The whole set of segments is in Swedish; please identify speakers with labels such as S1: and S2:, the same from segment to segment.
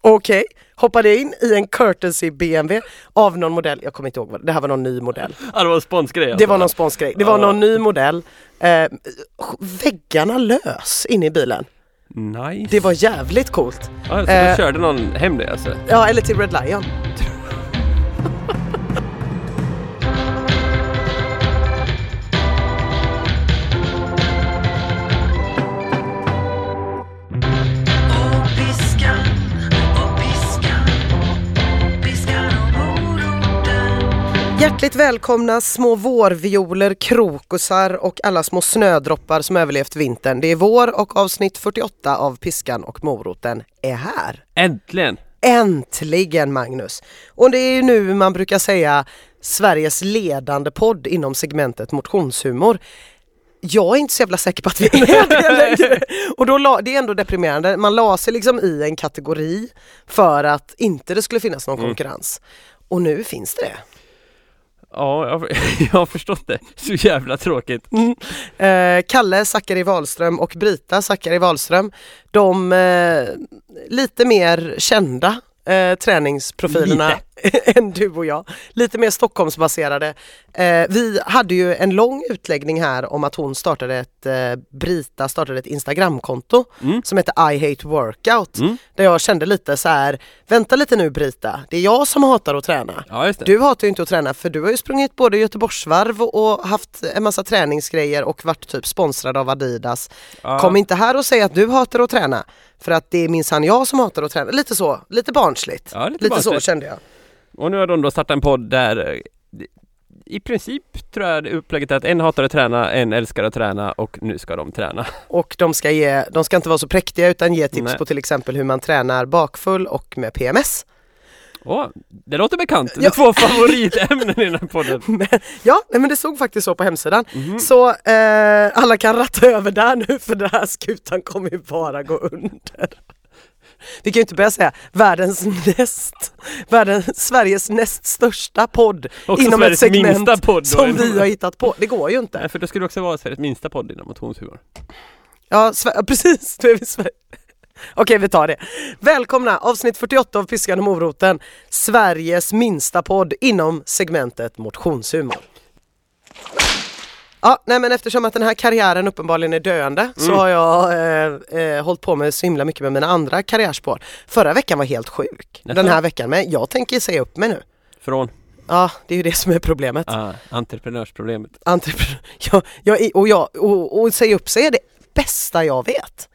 S1: Okej, hoppade in i en courtesy BMW av någon modell, jag kommer inte ihåg vad det här var någon ny modell.
S2: Ja, det var en sponsgrej
S1: Det
S2: alltså.
S1: var någon sponsgrej, det var någon ny modell. Eh, väggarna lös inne i bilen.
S2: Nice.
S1: Det var jävligt coolt.
S2: Ja, så
S1: eh,
S2: då körde någon hem det alltså.
S1: Ja, eller till Red Lion.
S3: Och piskan, och piskan, piskan och moroten
S1: Hjärtligt välkomna små vårvioler, krokusar och alla små snödroppar som överlevt vintern. Det är vår och avsnitt 48 av Piskan och moroten är här.
S2: Äntligen!
S1: Äntligen Magnus! Och det är ju nu man brukar säga Sveriges ledande podd inom segmentet motionshumor. Jag är inte så jävla säker på att vi är det längre. Och då la, det är ändå deprimerande, man la sig liksom i en kategori för att inte det skulle finnas någon konkurrens. Och nu finns det det.
S2: Ja, jag, jag har förstått det. Så jävla tråkigt.
S1: Eh, Kalle Zackari Wahlström och Brita Zackari Wahlström, de eh, lite mer kända eh, träningsprofilerna än du och jag. Lite mer Stockholmsbaserade. Eh, vi hade ju en lång utläggning här om att hon startade ett, eh, Brita startade ett Instagramkonto som hette I hate workout. Där jag kände lite så här, vänta lite nu Brita, det är jag som hatar att träna.
S2: Ja, just det.
S1: Du hatar ju inte att träna för du har ju sprungit både Göteborgsvarv och haft en massa träningsgrejer och varit typ sponsrad av Adidas.
S2: Ja.
S1: Kom inte här och säg att du hatar att träna för att det är minsann jag som hatar att träna. Lite så, lite barnsligt.
S2: Ja, lite
S1: så
S2: barnsligt.
S1: kände jag.
S2: Och nu har de då startat en podd där eh, i princip tror jag det upplägget är att en hatar att träna, en älskar att träna och nu ska de träna.
S1: Och de ska, ge, de ska inte vara så präktiga utan ge tips
S2: Nej.
S1: på till exempel hur man tränar bakfull och med PMS.
S2: Åh, det låter bekant. Det
S1: Ja.
S2: är två favoritämnen i den här podden.
S1: Men, ja, nej, men det stod faktiskt så på hemsidan.
S2: Mhm.
S1: Så eh, alla kan ratta över där nu för den här skutan kommer ju bara gå under. Vi kan ju inte börja säga världens näst, världens, Sveriges näst största podd
S2: Också
S1: inom
S2: Sveriges
S1: ett segment
S2: minsta podd då,
S1: som
S2: ändå.
S1: vi har hittat på. Det går ju
S2: Nej,
S1: inte.
S2: för det skulle också vara Sveriges minsta podd inom motionshumor.
S1: Ja, Sve- ja, precis. Då är vi i Sverige. Okej, vi tar det. Välkomna avsnitt 48 av Piskan och moroten, Sveriges minsta podd inom segmentet motionshumor. Ja, nej men eftersom att den här karriären uppenbarligen är döende så har jag eh, eh, hållit på med så himla mycket med mina andra karriärspår. Förra veckan var helt sjuk.
S2: Jaså?
S1: Den här veckan med. Jag tänker säga upp mig nu.
S2: Från
S1: Ja, det är ju det som är problemet.
S2: ah, entreprenörsproblemet.
S1: Entreprenör. Jag, jag, är- och, jag, och, och säga upp sig är det bästa jag vet.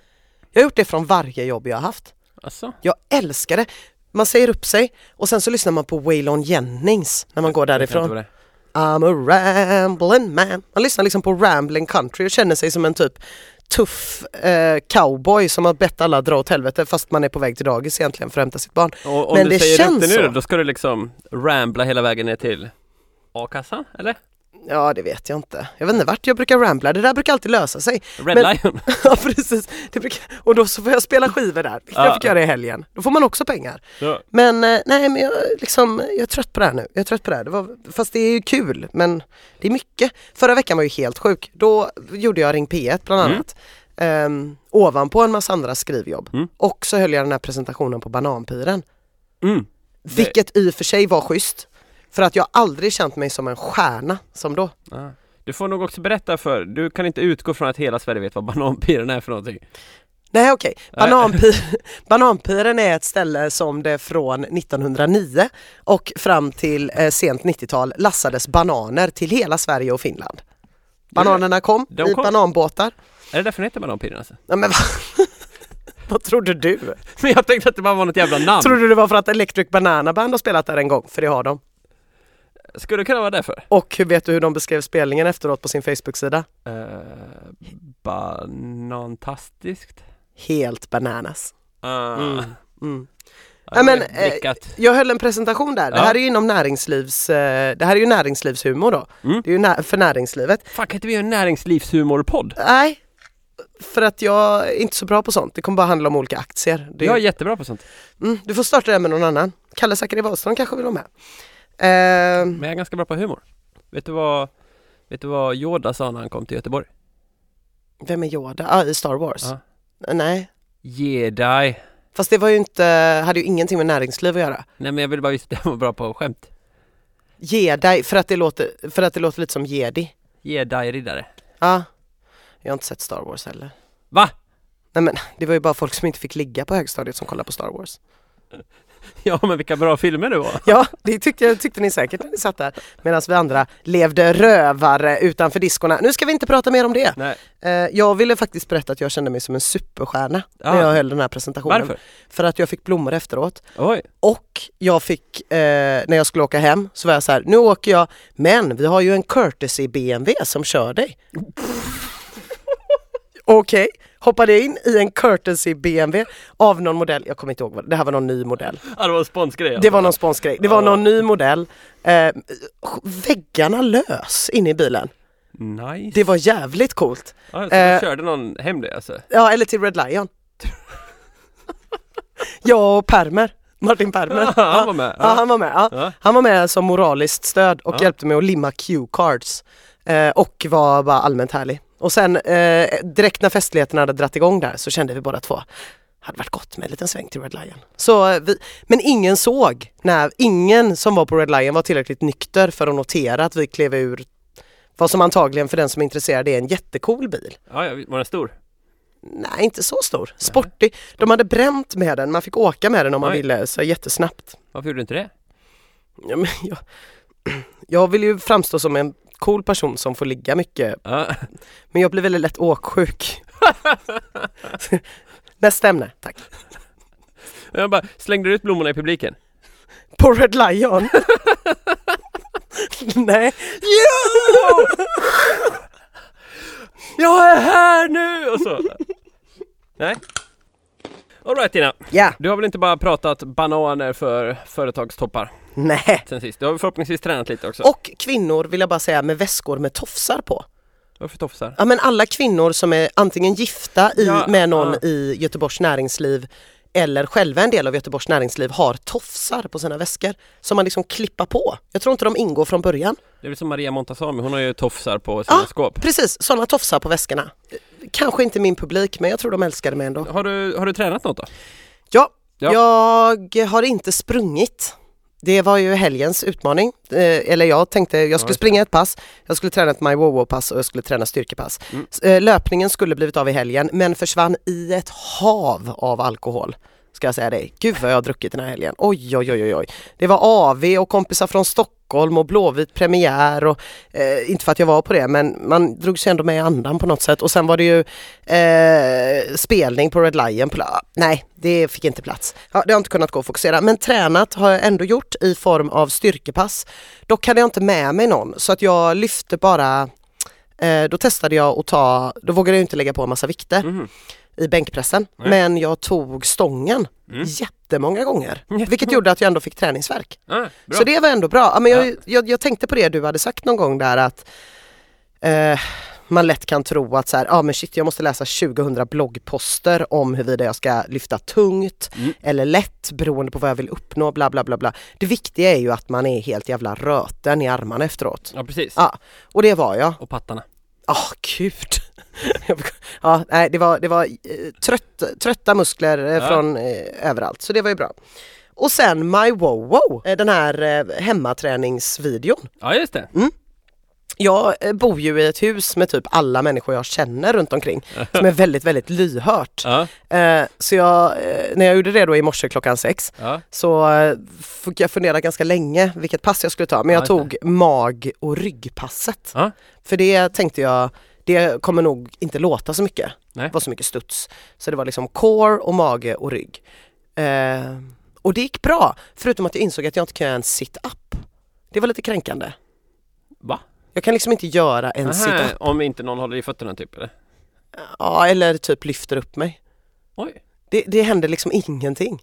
S1: Jag har gjort det från varje jobb jag har haft.
S2: Alltså,
S1: Jag älskar det. Man säger upp sig och sen så lyssnar man på Waylon Jennings när man går
S2: jag
S1: därifrån.
S2: tror det.
S1: I'm a ramblin' man. Man lyssnar liksom på rambling country och känner sig som en typ tuff eh, cowboy som har bett alla dra åt helvete fast man är på väg till dagis egentligen för att hämta sitt barn.
S2: Och om
S1: Men
S2: du
S1: det
S2: säger upp
S1: känns
S2: det nu
S1: så.
S2: då, då ska du liksom rambla hela vägen ner till a-kassan, eller?
S1: Ja det vet jag inte. Jag vet inte vart jag brukar rambla, det där brukar alltid lösa sig.
S2: Red
S1: Men-
S2: Lion.
S1: Ja precis, det brukar, och då så får jag spela skivor där, vilket jag
S2: Ja.
S1: fick göra i helgen. Då får man också pengar.
S2: Ja.
S1: Men eh, nej men jag, liksom, jag är trött på det här nu, jag är trött på det här. Det var, fast det är ju kul men det är mycket. Förra veckan var ju helt sjuk, då gjorde jag Ring P1 bland annat. Ehm, ovanpå en massa andra skrivjobb.
S2: Mm.
S1: Och så höll jag den här presentationen på Bananpiren.
S2: Mm.
S1: Vilket i och för sig var schysst. För att jag aldrig känt mig som en stjärna som då.
S2: Ah. Du får nog också berätta för, du kan inte utgå från att hela Sverige vet vad bananpiren är för någonting.
S1: Nej okej,
S2: Nej.
S1: Bananpi- Bananpiren är ett ställe som det från 1909 och fram till eh, sent 90-tal lassades bananer till hela Sverige och Finland. Bananerna kom
S2: De
S1: i
S2: kom.
S1: bananbåtar.
S2: Är det därför den heter bananpiren alltså?
S1: Ja, men vad, vad trodde du?
S2: Men jag tänkte att det bara var något jävla namn.
S1: Trodde du det var för att Electric Banana Band har spelat där en gång? För det har de.
S2: Skulle det kunna vara därför?
S1: Och hur vet du hur de beskrev spelningen efteråt på sin Facebook-sida?
S2: Uh, banantastiskt?
S1: Helt bananas.
S2: Ah.
S1: Mm. Mm.
S2: Ja,
S1: Nej, men,
S2: det är
S1: eh,
S2: blickat.
S1: Jag höll en presentation där. Det
S2: Ja.
S1: här är ju inom näringslivs... eh, Det här är ju näringslivshumor då.
S2: Mm.
S1: Det är ju nä- för näringslivet.
S2: Fan kan inte vi göra en näringslivshumorpodd?
S1: Nej, för att jag är inte så bra på sånt. Det kommer bara handla om olika aktier. Det
S2: Jag är jättebra på sånt.
S1: mm, du får starta det här med någon annan. Kalle Zackari Wahlström kanske vill vara med. Ehm,
S2: Men jag är ganska bra på humor. Vet du vad, vet du vad Yoda sa när han kom till Göteborg?
S1: vem är Yoda? Ah, i Star Wars?
S2: Ja.
S1: Nej,
S2: Jedi.
S1: Fast det var ju inte, hade ju ingenting med näringsliv att göra.
S2: Nej men jag ville bara visa att jag var bra på skämt.
S1: Ge dig, för att det låter, för att det låter lite som jedi.
S2: Jedi-riddare.
S1: Ja. Jag har inte sett Star Wars heller.
S2: Va?
S1: Nej men det var ju bara folk som inte fick ligga på högstadiet som kollade på Star Wars.
S2: Ja men vilka bra filmer det var.
S1: Ja, det tyckte, tyckte ni säkert när ni satt där. Medan vi andra levde rövare utanför diskorna. Nu ska vi inte prata mer om det.
S2: Nej.
S1: Eh, jag ville faktiskt berätta att jag kände mig som en superstjärna när
S2: Ah.
S1: jag höll den här presentationen.
S2: Varför?
S1: För att jag fick blommor efteråt.
S2: Oj.
S1: Och jag fick, eh, när jag skulle åka hem så var jag så här, nu åker jag, men vi har ju en courtesy BMW som kör dig. Okej, hoppade jag in i en courtesy BMW av någon modell, jag kommer inte ihåg vad, det här var någon ny modell.
S2: Ja det var en alltså. sponsgrej
S1: Det var någon sponsgrej. Det var någon ny modell. Eh, väggarna lös inne i bilen.
S2: Nice.
S1: Det var jävligt coolt.
S2: Ja, så
S1: eh,
S2: då körde någon hem det alltså.
S1: Ja, eller till Red Lion. jag och Permer. Martin Permer.
S2: Ja, han var med.
S1: Ja, han var med. Ja.
S2: Ja.
S1: Han var med som moraliskt stöd och
S2: Ja.
S1: hjälpte mig att limma cue-cards. Eh, och var bara allmänt härlig. Och sen eh, direkt när festligheterna hade dratt igång där så kände vi båda två hade varit gott med en liten sväng till Red Lion. Så eh, vi, men ingen såg, när, ingen som var på Red Lion var tillräckligt nykter för att notera att vi klev ur vad som antagligen för den som är intresserad är en jättecool bil.
S2: Ja, ja, var den stor?
S1: Nej, inte så stor. Sportig. De hade bränt med den, man fick åka med den om man
S2: Oj.
S1: ville så jättesnabbt.
S2: Varför gjorde du inte det?
S1: Ja, men jag, jag vill ju framstå som en cool person som får ligga mycket,
S2: Ja.
S1: men jag blir väldigt lätt åksjuk. Nästa ämne, tack.
S2: Jag bara, slängde du ut blommorna i publiken?
S1: På Red Lion? Nej.
S2: Jo! Jag är här nu! Och så. Nej. Alright Tina,
S1: Ja.
S2: du har väl inte bara pratat bananer för företagstoppar
S1: Nej.
S2: sen sist? Du har väl förhoppningsvis tränat lite också?
S1: Och kvinnor vill jag bara säga med väskor med tofsar på.
S2: Varför tofsar?
S1: Ja men alla kvinnor som är antingen gifta i,
S2: Ja,
S1: med någon
S2: ja.
S1: i Göteborgs näringsliv eller själva en del av Göteborgs näringsliv har tofsar på sina väskor som man liksom klippar på. Jag tror inte de ingår från början.
S2: Det är väl som Maria Montazami, hon har ju tofsar på sina
S1: Ah.
S2: skåp.
S1: Precis, sådana tofsar på väskorna. Kanske inte min publik men jag tror de älskade mig ändå.
S2: Har du, har du tränat något då?
S1: Ja,
S2: Ja.
S1: jag har inte sprungit. Det var ju helgens utmaning. Eh, eller jag tänkte, jag skulle
S2: just
S1: springa ett pass, jag skulle träna ett My Wow pass och jag skulle träna styrkepass.
S2: Mm.
S1: S- Eh, löpningen skulle blivit av i helgen men försvann i ett hav av alkohol. Ska jag säga dig. Gud vad jag har druckit den här helgen. Oj, oj, oj, oj, oj. Det var AV och kompisar från Stockholm och Blåvit premiär och eh, inte för att jag var på det men man drog sig ändå med i andan på något sätt och sen var det ju eh, spelning på Red Lion. På, la- ah, nej, det fick inte plats. Ja, det har inte kunnat gå att fokusera. Men tränat har jag ändå gjort i form av styrkepass. Dock hade jag inte med mig någon så att jag lyfte bara Eh, då testade jag att ta, då vågade jag ju inte lägga på en massa vikter
S2: Mhm.
S1: i bänkpressen.
S2: Nej.
S1: Men jag tog stången
S2: Mm.
S1: jättemånga gånger.
S2: Jättemånga.
S1: Vilket gjorde att jag ändå fick träningsvärk.
S2: Ah, bra.
S1: Så det var ändå bra. Ja, men jag,
S2: Ja.
S1: jag, jag tänkte på det du hade sagt någon gång där att eh, man lätt kan tro att så här, ah, men shit jag måste läsa 2000 bloggposter om huruvida jag ska lyfta tungt
S2: Mm.
S1: eller lätt beroende på vad jag vill uppnå bla bla bla bla. Det viktiga är ju att man är helt jävla röten i armarna efteråt.
S2: Ja, precis.
S1: Ja, och det var jag.
S2: Och pattarna.
S1: Ja, Ah, gud. ja, nej, det var, det var eh, trött, trötta muskler eh,
S2: Ja.
S1: från eh, överallt, så det var ju bra. Och sen My Wow Wow, eh, den här eh, hemmaträningsvideon.
S2: Ja, just det.
S1: Jag eh, bor ju i ett hus med typ alla människor jag känner runt omkring som är väldigt, väldigt lyhört.
S2: Ja,
S1: Eh, så jag, eh, när jag gjorde det då i morse klockan sex
S2: ja.
S1: så eh, fick jag fundera ganska länge vilket pass jag skulle ta men jag
S2: Ja, just
S1: tog mag och ryggpasset.
S2: Ja.
S1: För det tänkte jag, det kommer nog inte låta så mycket.
S2: Nej.
S1: Det var så mycket studs. Så det var liksom core och mage och rygg. Eh, och det gick bra, förutom att jag insåg att jag inte kan göra en sit-up. Det var lite kränkande.
S2: Va?
S1: Jag kan liksom inte göra en
S2: Nähä,
S1: sit-up.
S2: om inte någon håller i fötterna typ eller?
S1: Ja, eller typ lyfter upp mig.
S2: Oj.
S1: Det, det hände liksom ingenting.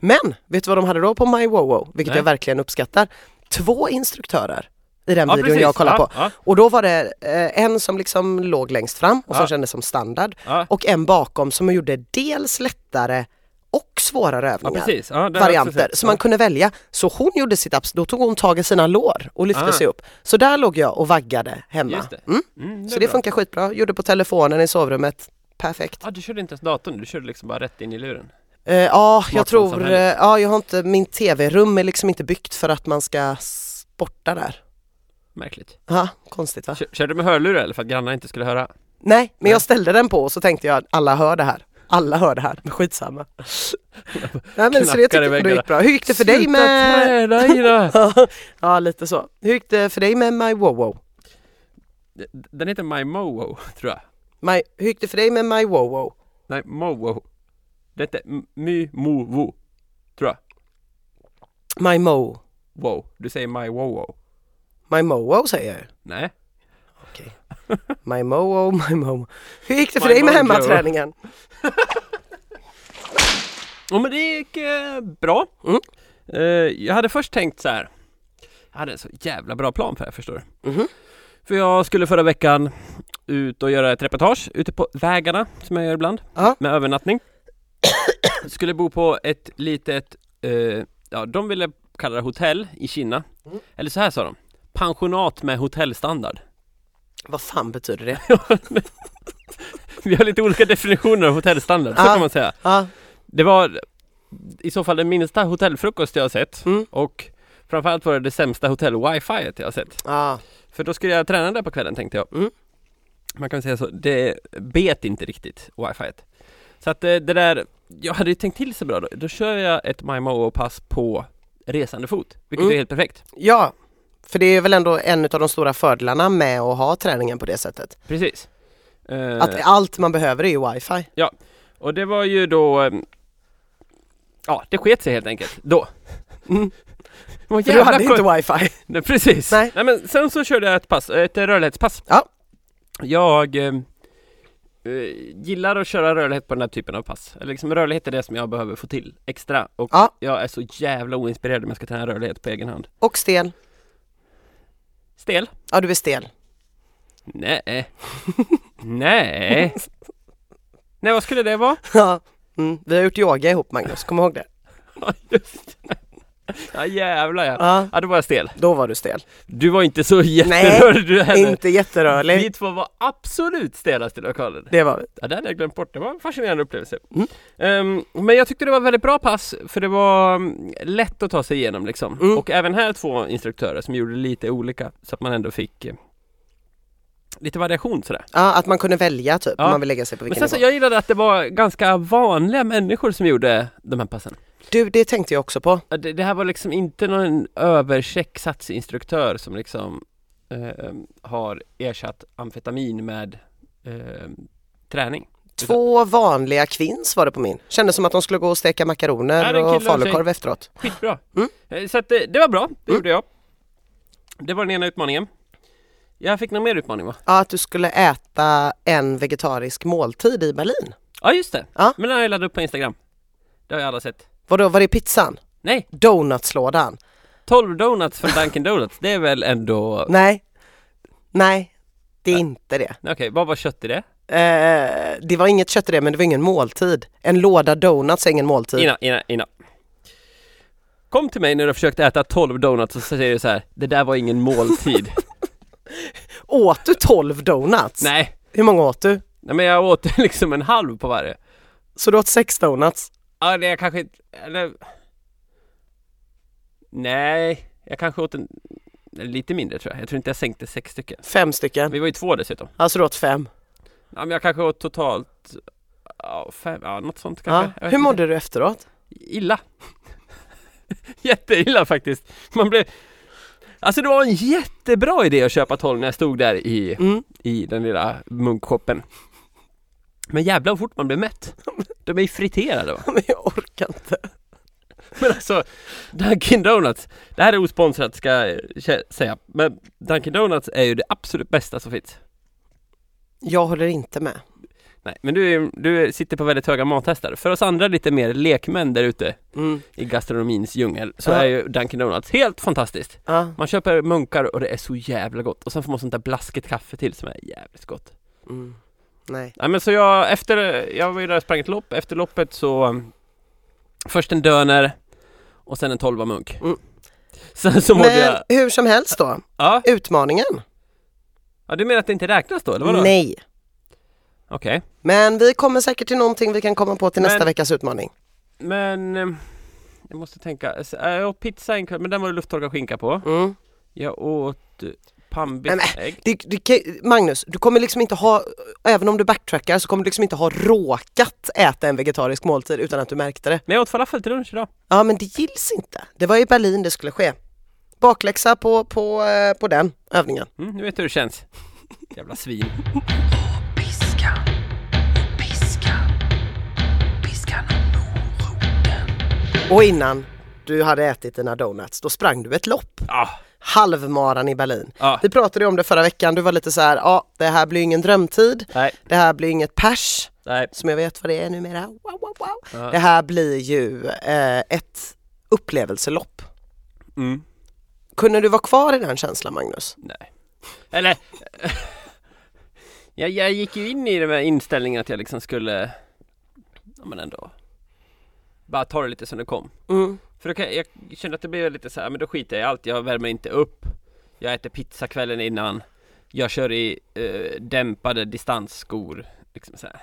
S1: Men, vet du vad de hade då på My Wowo, vilket
S2: Nej.
S1: jag verkligen uppskattar? Två instruktörer i den
S2: Ja,
S1: videon
S2: precis.
S1: jag kollade
S2: ja,
S1: på.
S2: Ja,
S1: Och då var det eh, en som liksom låg längst fram och som
S2: Ja.
S1: kändes som standard
S2: ja.
S1: och en bakom som gjorde dels lättare och svårare
S2: ja,
S1: övningar.
S2: precis. Ja, det har jag också
S1: varianter
S2: sett.
S1: som man kunde välja. Så hon gjorde sitt ups då tog hon tag i sina lår och lyfte
S2: Ah.
S1: sig upp. Så där låg jag och vaggade hemma.
S2: Just det.
S1: Mm.
S2: ja. Mm, det
S1: Så
S2: är
S1: det
S2: bra.
S1: funkar skitbra, gjorde på telefonen i sovrummet. Perfekt.
S2: Ja, du körde inte ens datorn, du körde liksom bara rätt in i luren.
S1: Eh, Eh, ja, jag tror, eh,
S2: Smartphone-samhället.
S1: ja jag har inte, min tv-rum är liksom inte byggt för att man ska sporta där.
S2: Märkligt.
S1: Ja, konstigt va?
S2: Kör, körde du med hörlurar eller för att grannarna inte skulle höra?
S1: Nej, men
S2: Nej.
S1: jag ställde den på och så tänkte jag att alla hör det här. Alla hör det här, men skitsamma. Nej men så
S2: Knackar i
S1: det tyckte jag ändå
S2: väggarna.
S1: gick bra. Hur gick det för dig
S2: Sluta
S1: med...
S2: träda i det!
S1: Ja lite så. Hur gick det för dig med My Wowo?
S2: Den heter My Mowo, tror jag.
S1: My... Hur gick det för dig med My Wowo?
S2: Nej, Mowo. Det heter M- My Mowo, tror jag.
S1: My Mo.
S2: Wow, du säger My Wowo.
S1: My Mowo säger jag
S2: Nej.
S1: My Mowo, My Mowo. Hur gick det för
S2: My
S1: dig med
S2: Mojo.
S1: hemmaträningen?
S2: Ja men det gick eh, bra.
S1: Mm.
S2: Eh, jag hade först tänkt så här. Jag hade en så jävla bra plan för det här förstår du.
S1: Mhm.
S2: För jag skulle förra veckan ut och göra ett reportage ute på vägarna som jag gör ibland.
S1: Ja.
S2: Med övernattning. skulle bo på ett litet, eh, ja de ville kalla det hotell i Kina. Eller så här sa de. Pensionat med hotellstandard.
S1: Vad fan betyder det?
S2: Vi har lite olika definitioner av hotellstandard, så
S1: Ja.
S2: kan man säga.
S1: Ja,
S2: Det var i så fall den minsta hotellfrukost jag har sett
S1: Mm.
S2: och framförallt var det det sämsta hotell-wifi jag har sett.
S1: ja,
S2: För då skulle jag träna där på kvällen tänkte jag.
S1: Mm.
S2: Man kan säga så, det bet inte riktigt wifi. Så att eh, det där, jag hade ju tänkt till så bra då. Då kör jag ett MyMoo-pass på resande fot, vilket
S1: Mm.
S2: är helt perfekt.
S1: ja. För det är väl ändå en av de stora fördelarna med att ha träningen på det sättet.
S2: Precis. Eh,
S1: Att allt man behöver är ju wifi.
S2: Och det var ju då eh, Ja, det sket sig helt enkelt då.
S1: Mm.
S2: Det var
S1: För du
S2: jävla
S1: hade
S2: skönt.
S1: inte wifi.
S2: Nej, precis. Nej.
S1: Nej.
S2: men sen så körde jag ett pass, ett rörlighetspass.
S1: Ja.
S2: Jag eh, eh, gillar att köra rörlighet på den här typen av pass. Eller liksom rörlighet är det som jag behöver få till extra. Och
S1: Ja.
S2: jag är så jävla oinspirerad om jag ska träna rörlighet på egen hand.
S1: Och stel.
S2: Stel?
S1: Ja, du är stel.
S2: Nej. Nej. Nej, vad skulle det vara?
S1: Ja. Mm. Vi har gjort yoga ihop Magnus, kom ihåg det.
S2: Ja, just det. Ja, jävlar ja.
S1: Ja.
S2: Ja, då var jag stel.
S1: Då var du stel.
S2: Du var inte så jätterörd du heller.
S1: Inte jätterörlig.
S2: Vi två var absolut stelast i lokalen.
S1: Det var vi.
S2: Ja, det hade jag glömt bort. Det var en fascinerande upplevelse.
S1: Mm.
S2: Ehm, men jag tyckte det var ett väldigt bra pass, för det var mm, lätt att ta sig igenom liksom.
S1: Mm.
S2: Och även här två instruktörer som gjorde lite olika, så att man ändå fick eh, lite variation sådär.
S1: Ja, att man kunde välja typ
S2: Ja.
S1: om man vill lägga sig på
S2: Men
S1: vilken
S2: sen så,
S1: nivå.
S2: jag gillade att det var ganska vanliga människor som gjorde de här passen.
S1: Du, det tänkte jag också på.
S2: Ja, Det, det här var liksom inte någon övercheck satsinstruktör som liksom eh, har ersatt amfetamin med eh, träning.
S1: Två vanliga kvinns var det på min. Kändes som att de skulle gå och steka
S2: Är
S1: makaroner
S2: det en kille och
S1: och
S2: tjej?
S1: falukorv efteråt.
S2: Skitbra.
S1: Mm.
S2: Eh, Så att det, det var bra, det gjorde jag. Det var den ena utmaningen. Jag fick någon mer utmaning va?
S1: Ja, att du skulle äta en vegetarisk måltid i Berlin.
S2: Ja just det,
S1: Ja.
S2: men den har jag laddat upp på Instagram. Det har ju alla sett.
S1: Vadå, var det pizzan?
S2: Nej,
S1: Donutslådan?
S2: 12 donuts från Dunkin Donuts, det är väl ändå...
S1: Nej, nej, det är inte det.
S2: Nej, Okej, vad var kött i det?
S1: Eh, det var inget kött i det men det var ingen måltid. En låda donuts är ingen måltid.
S2: Innan, innan, innan. Kom till mig när du försökte äta 12 donuts och så säger du så här, det där var ingen måltid.
S1: Alltså. Åt du 12 donuts?
S2: Nej.
S1: Hur många åt du?
S2: Nej men jag åt liksom en halv på varje.
S1: Så du åt sex donuts?
S2: Ja, det jag kanske inte... Eller... Nej, jag kanske åt en... Lite mindre tror jag. Jag tror inte jag sänkte sex stycken.
S1: Fem stycken?
S2: Vi var ju två dessutom.
S1: Alltså du åt fem?
S2: Ja, men jag kanske åt totalt... Ja, fem, ja något sånt
S1: Ja.
S2: kanske. Jag vet
S1: Hur
S2: inte.
S1: mådde du efteråt?
S2: Illa. Jätteilla faktiskt. Man blev... Alltså det var en jättebra idé att köpa 12 när jag stod där i,
S1: Mm.
S2: i den lilla munkshoppen. Men jävlar vad fort man blev mätt. De är ju friterade va?
S1: Men jag orkar inte.
S2: Men alltså, Dunkin Donuts, det här är osponsrat ska jag kä- säga, men Dunkin Donuts är ju det absolut bästa som finns.
S1: Jag håller inte med.
S2: Nej, men du, är- du sitter på väldigt höga mathästar. För oss andra lite mer lekmän där ute
S1: Mm.
S2: i gastronomins djungel så
S1: Ja.
S2: är ju Dunkin Donuts helt fantastiskt.
S1: Ja.
S2: Man köper munkar och det är så jävla gott och sen får man sånt där blaskigt kaffe till som är jävligt gott.
S1: Mm. Nej.
S2: Nej men så jag, efter, jag var ju där och sprang ett lopp, efter loppet så um, Först en döner och sen en tolva munk.
S1: Mm.
S2: Sen så mådde jag,
S1: Men hur som helst då,
S2: ja.
S1: utmaningen?
S2: Ja du menar att det inte räknas då eller vadå?
S1: Nej.
S2: Okej,
S1: Men vi kommer säkert till någonting vi kan komma på till
S2: Men-
S1: nästa veckas utmaning.
S2: men eh, jag måste tänka, S- eh, jag åt pizza en kväll, men den var det lufttorkad skinka på.
S1: Mm.
S2: Jag åt eh,
S1: Nej, men-
S2: pannbitsägg.
S1: Det, det, kan- Magnus, du kommer liksom inte ha, även om du backtrackar så kommer du liksom inte ha råkat äta en vegetarisk måltid utan att du märkte det.
S2: Men jag åt falafel till lunch idag.
S1: Ja men det gills inte. Det var i Berlin det skulle ske. Bakläxa på, på, eh, på den övningen.
S2: Mm, nu vet du hur det känns. Jävla svin.
S3: Piskan, piskan, piskan och moroten.
S1: Och innan du hade ätit dina donuts, då sprang du ett lopp.
S2: Ah,
S1: Halvmaran i Berlin.
S2: ah,
S1: Vi pratade ju om det förra veckan, du var lite så här, ja det här blir ingen drömtid,
S2: nej,
S1: det här blir inget pers,
S2: nej.
S1: som jag vet vad det är numera. Wow, wow, wow.
S2: Ja.
S1: Det här blir ju eh, ett upplevelselopp.
S2: Mm.
S1: Kunde du vara kvar i den känslan Magnus?
S2: Nej. Eller... jag, jag gick ju in i det med inställningen att jag liksom skulle... Ja men ändå. Bara ta det lite som det kom.
S1: Mm.
S2: För då kan, jag kände att det blev lite så här, men då skiter jag i allt. Jag värmer inte upp. Jag äter pizza kvällen innan. Jag kör i eh, dämpade distansskor. Liksom så här.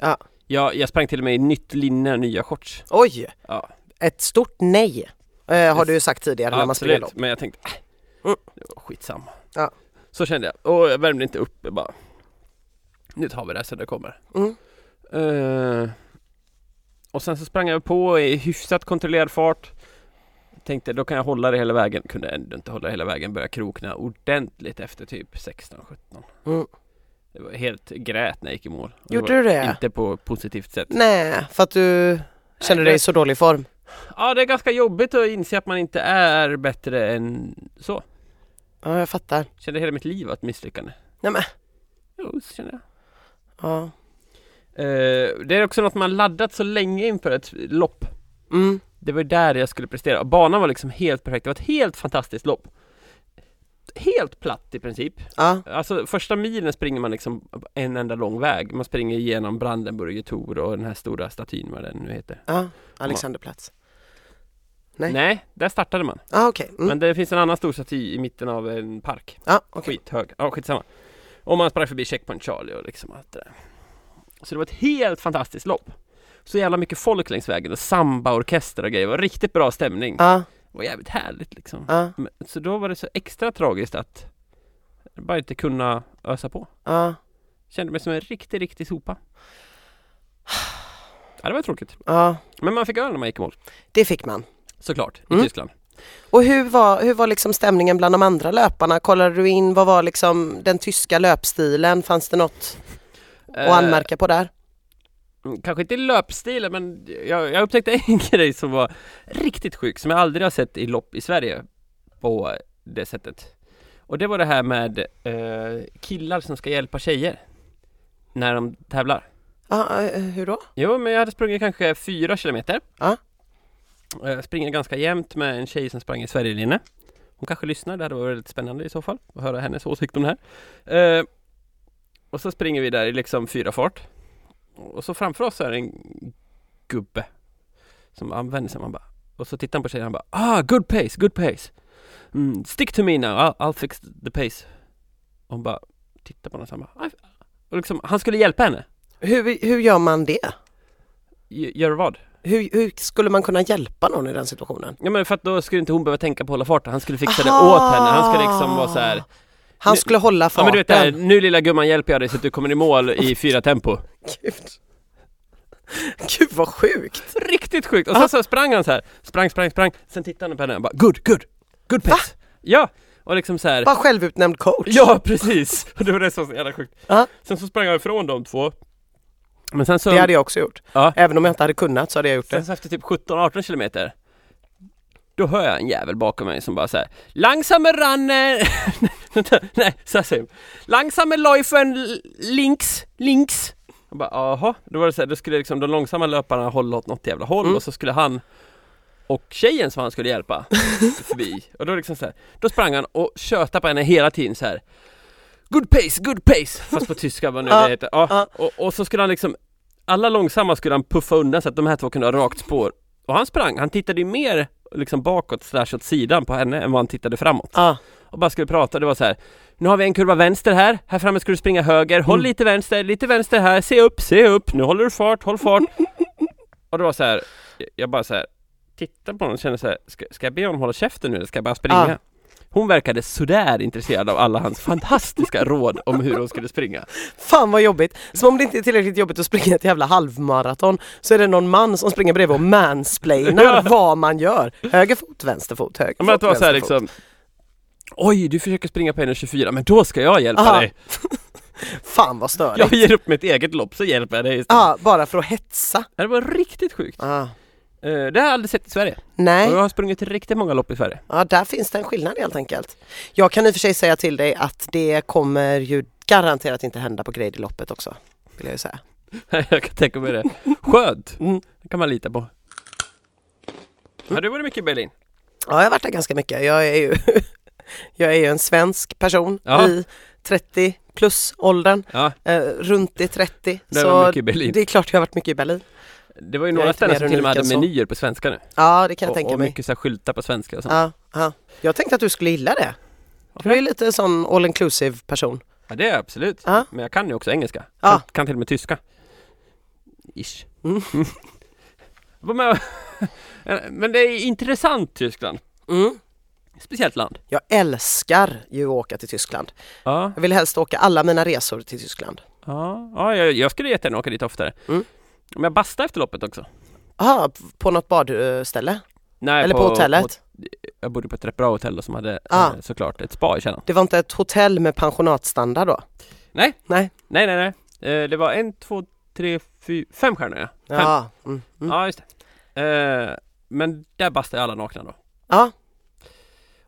S1: Ja.
S2: Jag, jag sprang till och med i nytt linne och nya shorts.
S1: Oj,
S2: Ja,
S1: ett stort nej eh, har du ju sagt tidigare när man springer
S2: absolut.
S1: lopp.
S2: Men jag tänkte, äh,
S1: Mm.
S2: det var skitsamma.
S1: Ja.
S2: Så kände jag. Och jag värmde inte upp. Jag bara, nu tar vi det här så det kommer.
S1: Mm.
S2: Eh, och sen så sprang jag på i hyfsat kontrollerad fart. Tänkte då kan jag hålla det hela vägen. Kunde ändå inte hålla det hela vägen. Började krokna ordentligt efter typ 16-17.
S1: Mm.
S2: Det var helt grät när jag gick i mål. Och det
S1: Gjorde
S2: var
S1: du det?
S2: Inte på positivt sätt.
S1: Nej, för att du kände dig
S2: Nej, det-
S1: i så dålig form.
S2: Ja, det är ganska jobbigt att inse att man inte är bättre än så.
S1: Ja, jag fattar.
S2: Kände hela mitt liv var ett misslyckande.
S1: Nej, men.
S2: Jo, så känner jag.
S1: Ja.
S2: Eh, det är också något man laddat så länge inför ett lopp.
S1: Mm.
S2: Det var där jag skulle prestera. Banan var liksom helt perfekt. Det var ett helt fantastiskt lopp. Helt platt i princip.
S1: Ja.
S2: Alltså första milen springer man liksom en enda lång väg. Man springer igenom Brandenburger Tor och den här stora statyn, vad den nu heter.
S1: ja, Alexanderplatz. Nej.
S2: Nej, där startade man.
S1: Ja, okej. Mm.
S2: Men det finns en annan stor staty i mitten av en park.
S1: Ja, okej.
S2: Skithög. Ja, skitsamma. Och man sprang förbi Checkpoint Charlie och liksom allt det där. Så det var ett helt fantastiskt lopp. Så jävla mycket folk längs vägen och sambaorkester och grejer. Det var riktigt bra stämning.
S1: Ja,
S2: Det var jävligt härligt liksom.
S1: ja,
S2: Men- Så då var det så extra tragiskt att bara inte kunna ösa på.
S1: ja,
S2: Kände mig som en riktig, riktig sopa. Ja, det var tråkigt.
S1: ja.
S2: Men man fick öl när man gick i mål.
S1: Det fick man.
S2: Såklart, i
S1: Mm.
S2: Tyskland.
S1: Och hur var, hur var liksom stämningen bland de andra löparna? Kollade du in, vad var liksom den tyska löpstilen? Fanns det något att
S2: Eh,
S1: anmärka på där?
S2: Mm, Kanske inte i löpstilen men jag, jag upptäckte en grej som var riktigt sjuk som jag aldrig har sett i lopp i Sverige på det sättet. Och det var det här med eh, killar som ska hjälpa tjejer när de tävlar.
S1: Ja, eh, hur då?
S2: Jo men jag hade sprungit kanske fyra kilometer.
S1: Ja.
S2: Eh, springer ganska jämnt med en tjej som sprang i Sverigelinne. Hon kanske lyssnar, det hade varit väldigt spännande i så fall att höra hennes åsikt om det här. Eh, och så springer vi där i liksom fyra fart. Och så framför oss är en gubbe som använder sig, man bara och så tittar han på tjejen och han bara ah good pace, good pace mm, Stick to me now, I'll, I'll fix the pace Och hon bara tittar på honom och han bara "I've-" och liksom, han skulle hjälpa henne
S1: Hur, hur gör man det?
S2: G- Gör vad?
S1: Hur, hur skulle man kunna hjälpa någon i den situationen?
S2: Ja men för att då skulle inte hon behöva tänka på att hålla farten, han skulle fixa
S1: Aha!
S2: det åt henne, han skulle liksom vara så här.
S1: Han
S2: Nu-
S1: skulle hålla
S2: Ja
S1: farten.
S2: men du vet det här, nu lilla gumman hjälper jag dig så att du kommer i mål i fyra tempo
S1: Gud. Gud vad sjukt.
S2: Riktigt sjukt!
S1: Ah.
S2: Och sen så sprang han så här, sprang, sprang, sprang, sen tittade han på henne och bara good, good, good pace Ja! Och liksom så här.
S1: Bara självutnämnd coach.
S2: Ja precis! Och det var det som var så jävla sjukt
S1: Ja.
S2: Sen så sprang jag ifrån de två Men sen så,
S1: Ah. Det hade jag också gjort.
S2: Ja.
S1: Även om jag inte hade kunnat så hade jag gjort
S2: sen
S1: det.
S2: så efter typ 17-18 kilometer Då hör jag en jävel bakom mig som bara säger Langsamme Ranne... Nej, så här säger hon. Langsamme Läufen l- links, links Jag bara jaha, då var det så här, då skulle liksom de långsamma löparna hålla åt något jävla håll
S1: Mm.
S2: och så skulle han och tjejen som han skulle hjälpa förbi och då liksom så här, då sprang han och tjötade på henne hela tiden så här. Good pace, good pace! Fast på tyska vad nu
S1: Ja,
S2: det heter. Ja.
S1: ja.
S2: Och, och så skulle han liksom alla långsamma skulle han puffa undan så att de här två kunde ha rakt spår. Och han sprang, han tittade ju mer liksom bakåt slash åt sidan på henne än vad han tittade framåt.
S1: Ja.
S2: Och bara skulle prata, det var så här. Nu har vi en kurva vänster här, här framme ska du springa höger, håll lite vänster, lite vänster här, se upp, se upp, nu håller du fart, håll fart. Och det var så här, jag- jag bara så här tittade på honom och kände så här, ska, ska jag be honom hålla käften nu eller ska jag bara springa?
S1: Ja.
S2: Hon verkade sådär intresserad av alla hans fantastiska råd om hur hon skulle springa.
S1: Fan vad jobbigt! Som om det inte är tillräckligt jobbigt att springa ett jävla halvmaraton så är det någon man som springer bredvid och mansplainar
S2: Ja.
S1: vad man gör. Höger fot, vänster fot, höger
S2: Ja, Men
S1: fot,
S2: att det var så här
S1: vänster fot.
S2: liksom Oj, du försöker springa på 1,24 men då ska jag hjälpa
S1: Aha.
S2: dig.
S1: Fan vad störigt! Ja,
S2: Jag ger upp mitt eget lopp så hjälper jag dig
S1: Ah.
S2: istället.
S1: bara för att hetsa.
S2: Det var riktigt sjukt.
S1: Ah.
S2: Eh, Det har jag aldrig sett i Sverige.
S1: Nej.
S2: Och jag har sprungit riktigt många lopp i Sverige.
S1: Ja, där finns det en skillnad helt enkelt. Jag kan i och för sig säga till dig att det kommer ju garanterat inte hända på Grady-loppet också. Vill jag ju säga.
S2: jag kan tänka mig det. Skönt!
S1: Mm.
S2: Det kan man lita på. Har du varit mycket i Berlin?
S1: Ja, jag har varit där ganska mycket. Jag är ju, jag är ju en svensk person
S2: Ja.
S1: i 30 plus åldern,
S2: Ja,
S1: eh, runt i 30.
S2: det
S1: så
S2: var mycket i Berlin.
S1: det är klart jag har varit mycket i Berlin.
S2: Det var ju
S1: Jag är
S2: några
S1: inte
S2: ställen
S1: mer
S2: som till och med
S1: unik
S2: hade
S1: än så.
S2: menyer på svenska nu.
S1: Ja, det kan jag
S2: och,
S1: tänka
S2: och
S1: mig.
S2: mycket så här skyltar på svenska och sånt.
S1: Ja, ja. Jag tänkte att du skulle gilla det. Du är lite en sån all inclusive person.
S2: Ja, det är jag absolut.
S1: Ja.
S2: Men jag kan ju också engelska.
S1: Ja.
S2: Kan, kan till och med tyska. Ish.
S1: Mm.
S2: Jag var med och- Men det är intressant Tyskland.
S1: Mm.
S2: Speciellt land.
S1: Jag älskar ju att åka till Tyskland.
S2: Ja,
S1: Jag vill helst åka alla mina resor till Tyskland.
S2: ja, ja jag, jag skulle jättegärna åka dit oftare.
S1: Mm.
S2: Men jag bastade efter loppet också.
S1: Aha, p- på något badställe?
S2: Nej,
S1: Eller på, hotellet?
S2: jag bodde på ett rätt bra hotell då, som hade
S1: Ah.
S2: eh, såklart ett spa i källaren.
S1: Det var inte ett hotell med pensionatstandard då?
S2: Nej.
S1: Nej.
S2: Nej, nej, nej. Eh, det var en, två, tre, fyra, fem stjärnor ja. Fem.
S1: Ja, mm, mm.
S2: Ja, just det. Eh, men där bastar alla nakna då.
S1: ja.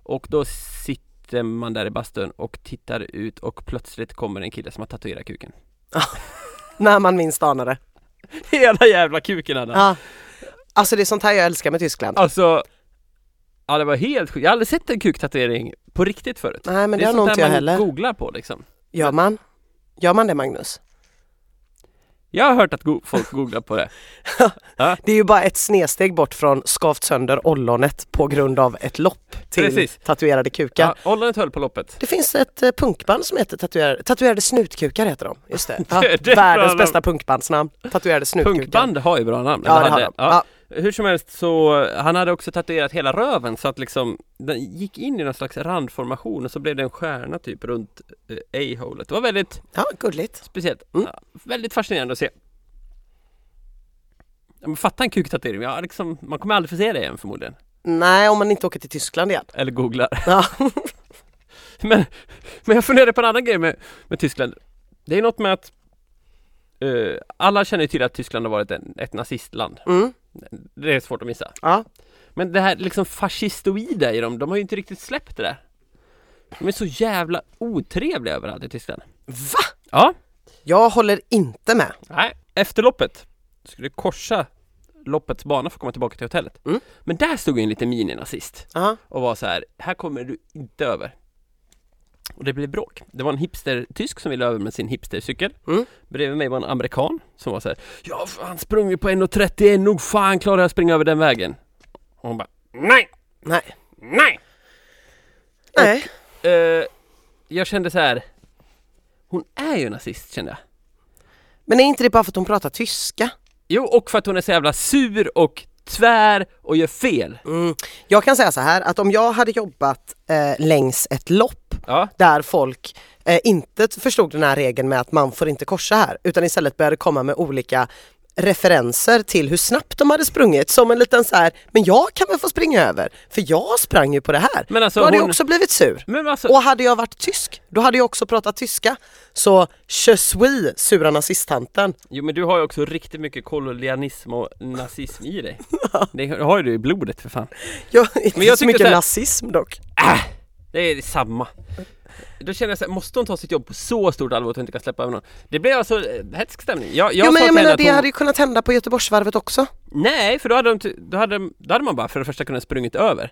S2: Och då sitter man där i bastun och tittar ut och plötsligt kommer en kille som har tatuerat kuken.
S1: när man minst anar det.
S2: Hela jävla kuken hade han.
S1: Ja. Alltså det är sånt här jag älskar med Tyskland.
S2: Alltså, ja det var helt sjukt. Jag har aldrig sett en kuktatuering på riktigt förut.
S1: Nej men det,
S2: är
S1: har
S2: sånt
S1: nog inte jag
S2: man
S1: heller.
S2: googlar på liksom.
S1: Gör man? Gör man det Magnus?
S2: Jag har hört att go- folk googlar på det.
S1: Det är ju bara ett snedsteg bort från skavt sönder ollonet på grund av ett lopp till
S2: Precis.
S1: tatuerade kukar.
S2: Ja, Ollonet höll på loppet.
S1: Det finns ett eh, punkband som heter tatuerade, tatuerade snutkukar heter de. Just det. Ja,
S2: Det är bra
S1: världens
S2: namn.
S1: bästa punkbandsnamn. Tatuerade snutkukar.
S2: Punkband har ju bra namn.
S1: Ja
S2: Eller
S1: det har
S2: hade.
S1: de.
S2: Ja.
S1: Ja.
S2: Hur som helst så, eh, han hade också tatuerat hela röven så att liksom Den gick in i någon slags randformation och så blev det en stjärna typ runt eh, A-holet Det var väldigt
S1: ja, gulligt.
S2: speciellt
S1: Mm.
S2: Ja, Väldigt fascinerande att se ja, men Fatta en kuktatuering, ja, liksom, man kommer aldrig få se det igen förmodligen
S1: Nej, om man inte åker till Tyskland igen.
S2: Eller googlar
S1: Ja.
S2: men, men jag funderade på en annan grej med, med Tyskland Det är något med att eh, Alla känner ju till att Tyskland har varit en, ett nazistland
S1: Mm.
S2: Det är svårt att missa
S1: Ja.
S2: Men det här liksom fascistoida i dem, de har ju inte riktigt släppt det där. De är så jävla otrevliga överallt i Tyskland.
S1: Va?
S2: Ja.
S1: Jag håller inte med.
S2: Nej. Efter loppet skulle jag korsa loppets bana för att komma tillbaka till hotellet.
S1: Mm.
S2: Men där stod ju en liten mininazist
S1: Ja.
S2: och var så här, här kommer du inte över. Och det blev bråk. Det var en hipster-tysk som ville över med sin hipstercykel.
S1: Mm.
S2: Bredvid mig var en amerikan som var så här, ja fan sprung vi på 1.31, nog fan klarar jag att springa över den vägen. Och hon bara, nej,
S1: Nej.
S2: nej!
S1: Nej.
S2: Eh, jag kände så här. Hon är ju nazist kände jag.
S1: Men är inte det bara för att hon pratar tyska?
S2: Jo, och för att hon är så jävla sur och tvär och gör fel.
S1: Mm. Jag kan säga så här att om jag hade jobbat eh, längs ett lopp
S2: Ja.
S1: där folk eh, inte t- förstod den här regeln med att man får inte korsa här utan istället började komma med olika referenser till hur snabbt de hade sprungit som en liten så här, men jag kan väl få springa över för jag sprang ju på det här.
S2: Men alltså
S1: Då hade jag
S2: hon-
S1: också blivit sur.
S2: Men alltså,
S1: Och hade jag varit tysk, då hade jag också pratat tyska. Så je suis, sura nazisttanten.
S2: jo men du har ju också riktigt mycket kolonialism och nazism i dig. Det har ju du i blodet för fan.
S1: Jag, inte
S2: jag
S1: så
S2: tycker
S1: mycket
S2: så här-
S1: nazism dock.
S2: Det är samma. Då känner jag så här, måste hon ta sitt jobb på så stort allvar att hon inte kan släppa över någon? Det blev alltså eh, hätsk stämning. Jag, jag
S1: jo,
S2: sa
S1: men jag
S2: till henne
S1: menar
S2: att
S1: det
S2: hon...
S1: hade ju kunnat hända på Göteborgsvarvet också.
S2: Nej, för då hade, de, ty- då, hade, de- då hade man bara för det första kunnat sprungit över.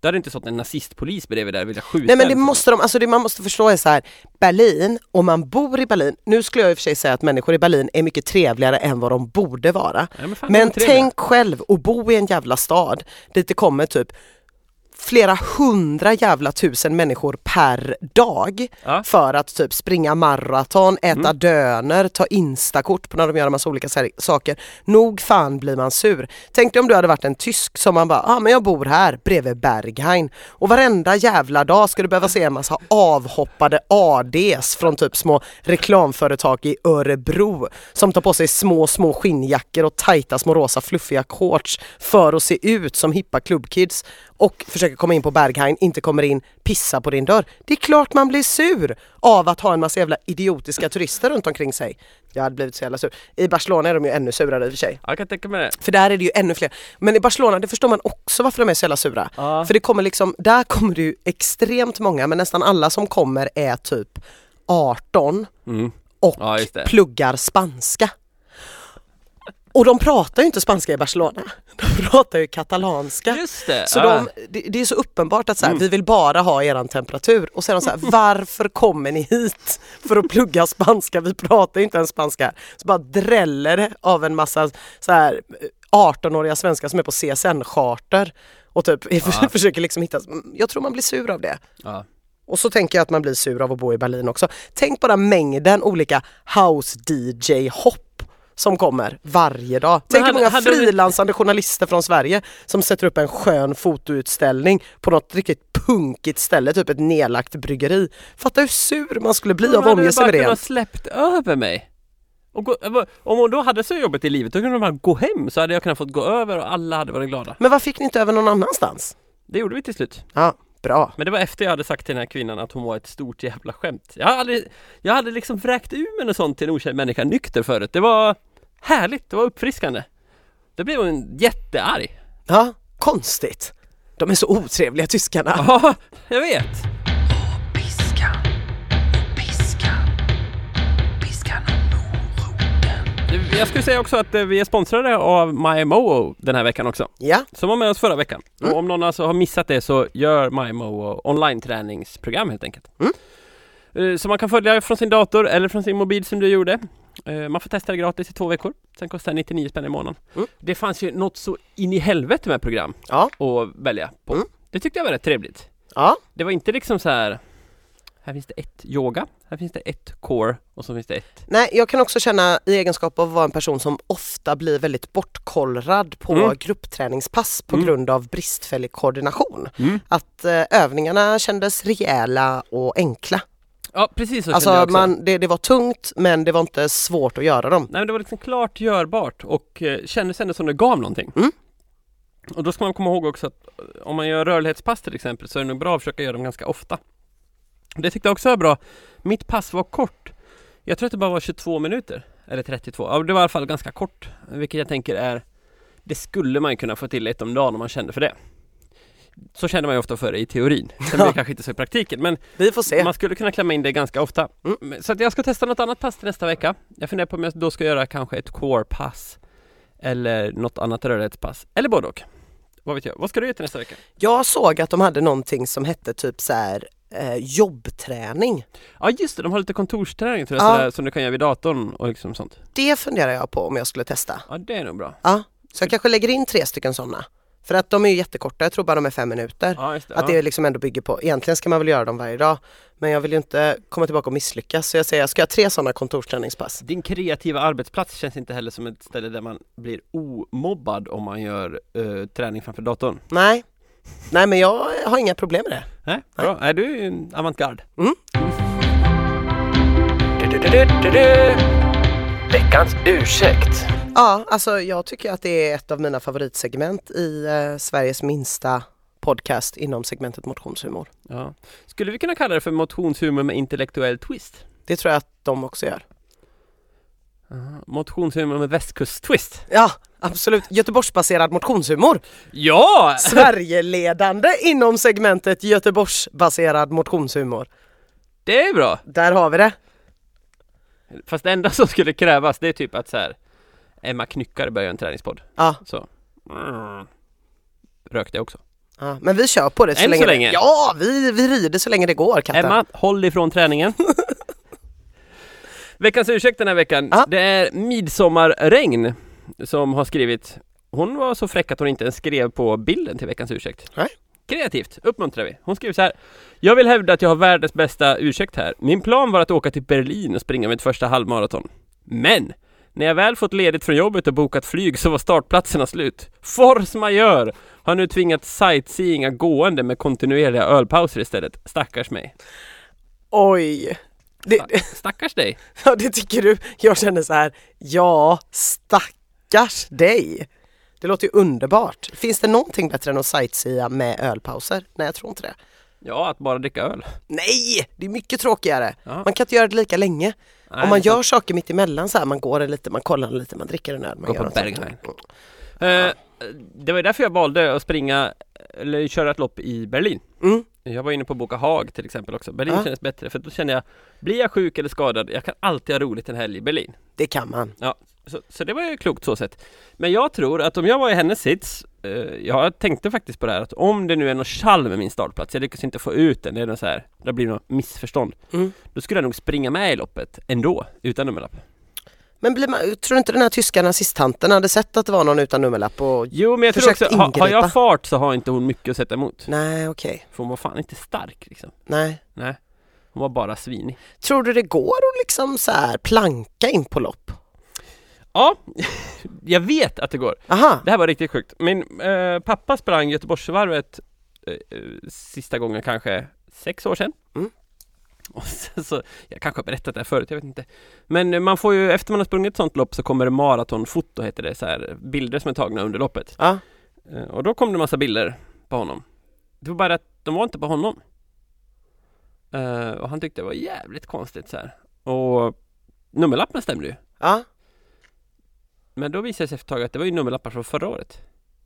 S2: Då hade det inte stått en nazistpolis bredvid där och velat skjuta
S1: Nej men det
S2: en.
S1: måste de, alltså det man måste förstå är så här, Berlin, om man bor i Berlin, nu skulle jag i och för sig säga att människor i Berlin är mycket trevligare än vad de borde vara.
S2: Ja, men fan, de är
S1: men
S2: trevliga.
S1: tänk själv att bo i en jävla stad dit det kommer typ flera hundra jävla tusen människor per dag
S2: Ja.
S1: för att typ springa maraton, äta
S2: Mm.
S1: döner, ta instakort på när de gör en massa olika sä- saker. Nog fan blir man sur. Tänk dig om du hade varit en tysk som man bara, ja ah, men jag bor här bredvid Berghain och varenda jävla dag ska du behöva se en massa avhoppade ADs från typ små reklamföretag i Örebro som tar på sig små, små skinnjackor och tajta små rosa fluffiga shorts för att se ut som hippa klubbkids och försöker komma in på Berghain, inte kommer in, pissar på din dörr. Det är klart man blir sur av att ha en massa jävla idiotiska turister runt omkring sig. Jag hade blivit så jävla sur. I Barcelona är de ju ännu surare i och för sig.
S2: Jag kan tänka mig det.
S1: För där är det ju ännu fler. Men i Barcelona, det förstår man också varför de är så jävla sura.
S2: Ja.
S1: För det kommer liksom, där kommer det ju extremt många, men nästan alla som kommer är typ 18
S2: Mm.
S1: och
S2: Ja, just det.
S1: pluggar spanska. Och de pratar ju inte spanska i Barcelona, de pratar ju katalanska.
S2: Just det!
S1: Så
S2: ja.
S1: de, det, det är så uppenbart att så här, vi vill bara ha eran temperatur och så är de så här, varför kommer ni hit för att plugga spanska? Vi pratar ju inte ens spanska. Så bara dräller det av en massa så här, 18-åriga svenskar som är på CSN-charter och typ försöker liksom hitta, jag tror man blir sur av det.
S2: ja.
S1: Och så tänker jag att man blir sur av att bo i Berlin också. Tänk bara mängden olika house-DJ-hopp som kommer varje dag. Tänk hur
S2: hade-
S1: många
S2: hade du-
S1: frilansande journalister från Sverige som sätter upp en skön fotoutställning på något riktigt punkigt ställe, typ ett nedlagt bryggeri. Fatta hur sur man skulle bli av att
S2: hade
S1: omge sig
S2: bara
S1: med det.
S2: kunnat släppt över mig. Och gå, eh, om hon då hade så jobbigt i livet, då kunde de bara gå hem så hade jag kunnat fått gå över och alla hade varit glada.
S1: Men varför fick ni inte över någon annanstans?
S2: Det gjorde vi till slut.
S1: Ja, bra.
S2: Men det var efter jag hade sagt till den här kvinnan att hon var ett stort jävla skämt. Jag hade, aldrig- jag hade liksom vräkt ur mig något sånt till en okänd människa nykter förut. Det var härligt, det var uppfriskande. Då blev hon jättearg.
S1: Ja, konstigt. De är så otrevliga tyskarna.
S2: Ja, jag vet.
S3: Piskan, piskan, piskan och moroten.
S2: Jag skulle säga också att eh, vi är sponsrade av MyMoo den här veckan också.
S1: Ja,
S2: Som var med oss förra veckan.
S1: Mm.
S2: Och om någon alltså har missat det så gör MyMo online-träningsprogram helt enkelt.
S1: Mm.
S2: Eh, Som man kan följa från sin dator eller från sin mobil som du gjorde. Eh, Man får testa det gratis i två veckor. Sen kostar det 99 spänn i månaden.
S1: Mm.
S2: Det fanns ju något så in i helvete med program
S1: ja,
S2: att välja på.
S1: Mm.
S2: Det tyckte jag var rätt trevligt.
S1: ja.
S2: Det var inte liksom så här. Här finns det ett yoga, här finns det ett core och så finns det ett
S1: Nej, jag kan också känna i egenskap av att vara en person som ofta blir väldigt bortkollrad på
S2: Mm.
S1: gruppträningspass på
S2: Mm.
S1: grund av bristfällig koordination. Att eh, övningarna kändes rejäla och enkla.
S2: Ja precis så kände jag
S1: Alltså
S2: också.
S1: man, det, det var tungt men det var inte svårt att göra dem.
S2: Nej men det var liksom klart görbart och eh, kändes ändå som det gav någonting.
S1: Mm.
S2: Och då ska man komma ihåg också att eh, om man gör rörlighetspass till exempel så är det nog bra att försöka göra dem ganska ofta. Det tyckte jag också var bra. Mitt pass var kort. Jag tror att det bara var 22 minuter. Eller 32. Ja, det var i alla fall ganska kort. Vilket jag tänker är Det skulle man ju kunna få till ett om dagen om man kände för det. Så kände man ju ofta för det i teorin. Sen blir det kanske inte så i praktiken men
S1: Vi får se.
S2: man skulle kunna klämma in det ganska ofta.
S1: Mm.
S2: Men- Så att jag ska testa något annat pass till nästa vecka. Jag funderar på om jag då ska göra kanske ett core-pass eller något annat rörlighetspass. Eller både och. Vad vet jag. Vad ska du göra till nästa vecka?
S1: Jag såg att de hade någonting som hette typ så här eh, jobbträning.
S2: Ja just det, de har lite kontorsträning tror jag,
S1: Ja.
S2: sådär, som du kan göra vid datorn och liksom sånt.
S1: Det funderar jag på om jag skulle testa.
S2: Ja det är nog bra.
S1: Ja, så jag kanske lägger in tre stycken sådana. För att de är ju jättekorta, jag tror bara de är fem minuter.
S2: Ja just det.
S1: Att
S2: ja.
S1: det liksom ändå bygger på, egentligen ska man väl göra dem varje dag men jag vill ju inte komma tillbaka och misslyckas så jag säger jag ska ha tre sådana kontorsträningspass.
S2: Din kreativa arbetsplats känns inte heller som ett ställe där man blir omobbad om man gör eh, träning framför datorn.
S1: Nej, nej men jag har inga problem med det.
S2: Nej, bra. Nej, du är ju en avantgarde.
S3: Veckans ursäkt.
S1: Ja, alltså jag tycker att det är ett av mina favoritsegment i eh, Sveriges minsta podcast inom segmentet motionshumor.
S2: Ja. Skulle vi kunna kalla det för motionshumor med intellektuell twist?
S1: Det tror jag att de också gör.
S2: Motionshumor med västkusttwist.
S1: Ja, absolut. Göteborgsbaserad motionshumor.
S2: Ja!
S1: Sverigeledande inom segmentet Göteborgsbaserad motionshumor.
S2: Det är bra!
S1: Där har vi det.
S2: Fast det enda som skulle krävas det är typ att så här Emma Knyckare börjar göra en träningspodd.
S1: Ja.
S2: Så. Mm. Rökte jag också.
S1: Ja, men vi kör på det så
S2: Än så
S1: länge.
S2: länge.
S1: Ja, vi, vi rider så länge det går katten.
S2: Emma, håll ifrån träningen. Veckans ursäkt den här veckan,
S1: Ja.
S2: det är Midsommarregn som har skrivit Hon var så fräck att hon inte ens skrev på bilden till veckans ursäkt.
S1: Nej.
S2: Kreativt uppmuntrar vi. Hon skriver så här. Jag vill hävda att jag har världens bästa ursäkt här. Min plan var att åka till Berlin och springa mitt första halvmaraton. Men! När jag väl fått ledigt från jobbet och bokat flyg så var startplatserna slut. Force majeure! Har nu tvingat sightseeinga gående med kontinuerliga ölpauser istället. Stackars mig.
S1: Oj. Det,
S2: Sta- Stackars dig!
S1: ja, det tycker du. Jag känner så här, ja stackars dig. Det låter ju underbart. Finns det någonting bättre än att sightsea med ölpauser? Nej, jag tror inte det.
S2: Ja, att bara dricka öl.
S1: Nej, det är mycket tråkigare.
S2: Ja.
S1: Man kan inte göra det lika länge.
S2: Nej,
S1: Om man
S2: det är
S1: gör saker mitt emellan så här, man går en lite, man kollar lite, man dricker en öl. Man
S2: Går
S1: gör
S2: på
S1: något sånt.
S2: Berghain. Eh, Det var ju därför jag valde att springa eller köra ett lopp i Berlin.
S1: Mm.
S2: Jag var inne på Boka Haag till exempel också. Berlin
S1: Ja.
S2: kändes bättre för då kände jag Blir jag sjuk eller skadad, jag kan alltid ha roligt en helg i Berlin.
S1: Det kan man.
S2: Så, så det var ju klokt så sett. Men jag tror att om jag var i hennes sits eh, Jag tänkte faktiskt på det här att om det nu är något tjall med min startplats Jag lyckas inte få ut den, det är något så här Det blir något missförstånd
S1: Mm.
S2: Då skulle jag nog springa med i loppet ändå, utan nummerlapp
S1: Men blir man, tror du inte den här tyska nazisttanten hade sett att det var någon utan nummerlapp och
S2: Jo men jag tror
S1: Försökt
S2: också, ha, har
S1: ingripa.
S2: jag fart så har inte hon mycket att sätta emot
S1: nej okej,
S2: För hon var fan inte stark liksom
S1: nej.
S2: Nej Hon var bara svinig
S1: Tror du det går att liksom så här planka in på lopp?
S2: Ja, jag vet att det går
S1: Aha,
S2: Det här var riktigt sjukt. Min eh, pappa sprang Göteborgsvarvet eh, eh, sista gången kanske sex år sedan.
S1: Mm.
S2: Och sen så, jag kanske har berättat det här förut, jag vet inte. Men eh, man får ju, efter man har sprungit ett sånt lopp så kommer det maratonfoto heter det, så här, bilder som är tagna under loppet.
S1: ja.
S2: Eh, och då kom det massa bilder på honom. Det var bara att de var inte på honom. Eh, och han tyckte det var jävligt konstigt så här. Och nummerlappen stämde ju.
S1: ja.
S2: Men då visade det sig efter ett tag att det var ju nummerlappar från förra året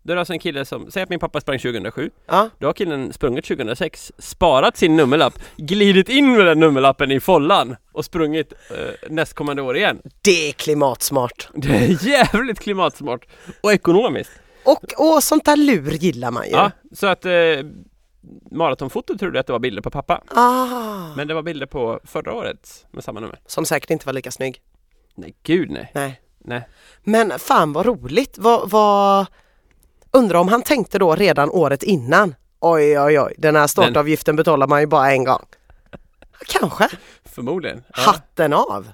S2: Då är det alltså en kille som, säg att min pappa sprang 2007
S1: ja.
S2: Då har killen sprungit 2006, sparat sin nummerlapp Glidit in med den nummerlappen i follan och sprungit eh, nästkommande år igen
S1: Det är klimatsmart.
S2: Det är jävligt klimatsmart och ekonomiskt
S1: Och, och sånt där lur gillar man ju.
S2: Ja, så att eh, Maratonfoto trodde att det var bilder på pappa
S1: Ah,
S2: Men det var bilder på förra året med samma nummer
S1: som säkert inte var lika snygg.
S2: Nej gud nej
S1: Nej.
S2: Nej.
S1: Men fan vad roligt. Vad, vad... Undrar om han tänkte då redan året innan. Oj oj oj, den här startavgiften betalar man ju bara en gång. Kanske.
S2: Förmodligen ja.
S1: Hatten av.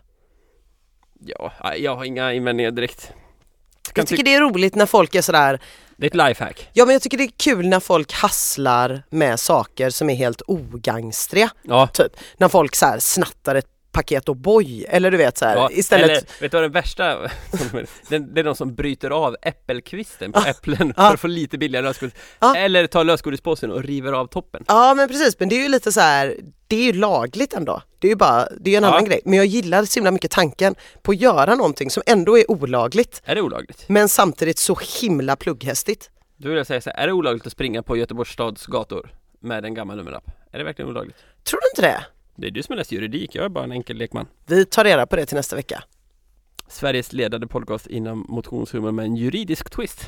S2: ja, jag har inga invändningar direkt
S1: Jag tycker det är roligt när folk är sådär,
S2: Det är ett lifehack
S1: ja men jag tycker det är kul när folk hasslar med saker som är helt ogangstriga.
S2: Ja
S1: Typ när folk så här snattar ett paket O'boy eller du vet så här
S2: Ja,
S1: istället.
S2: Eller, vet du vad den värsta den, Det är de som bryter av äppelkvisten på äpplen
S1: ah.
S2: för att få lite billigare lösgodis
S1: Ah.
S2: Eller tar lösgodispåsen och river av toppen
S1: Ja men precis men det är ju lite så här, det är ju lagligt ändå. Det är ju bara, det är ju en
S2: Ja.
S1: annan grej. Men jag gillar så himla mycket tanken på att göra någonting som ändå är olagligt
S2: Är det olagligt?
S1: men samtidigt så himla plugghästigt.
S2: Då vill jag säga så här, är det olagligt att springa på Göteborgs stads gator med en gammal nummerlapp? Är det verkligen olagligt?
S1: Tror du inte det?
S2: Det är du som har läst juridik, jag är bara en enkel lekman
S1: Vi tar reda på det till nästa vecka.
S2: Sveriges ledande podcast inom motionshumor med en juridisk twist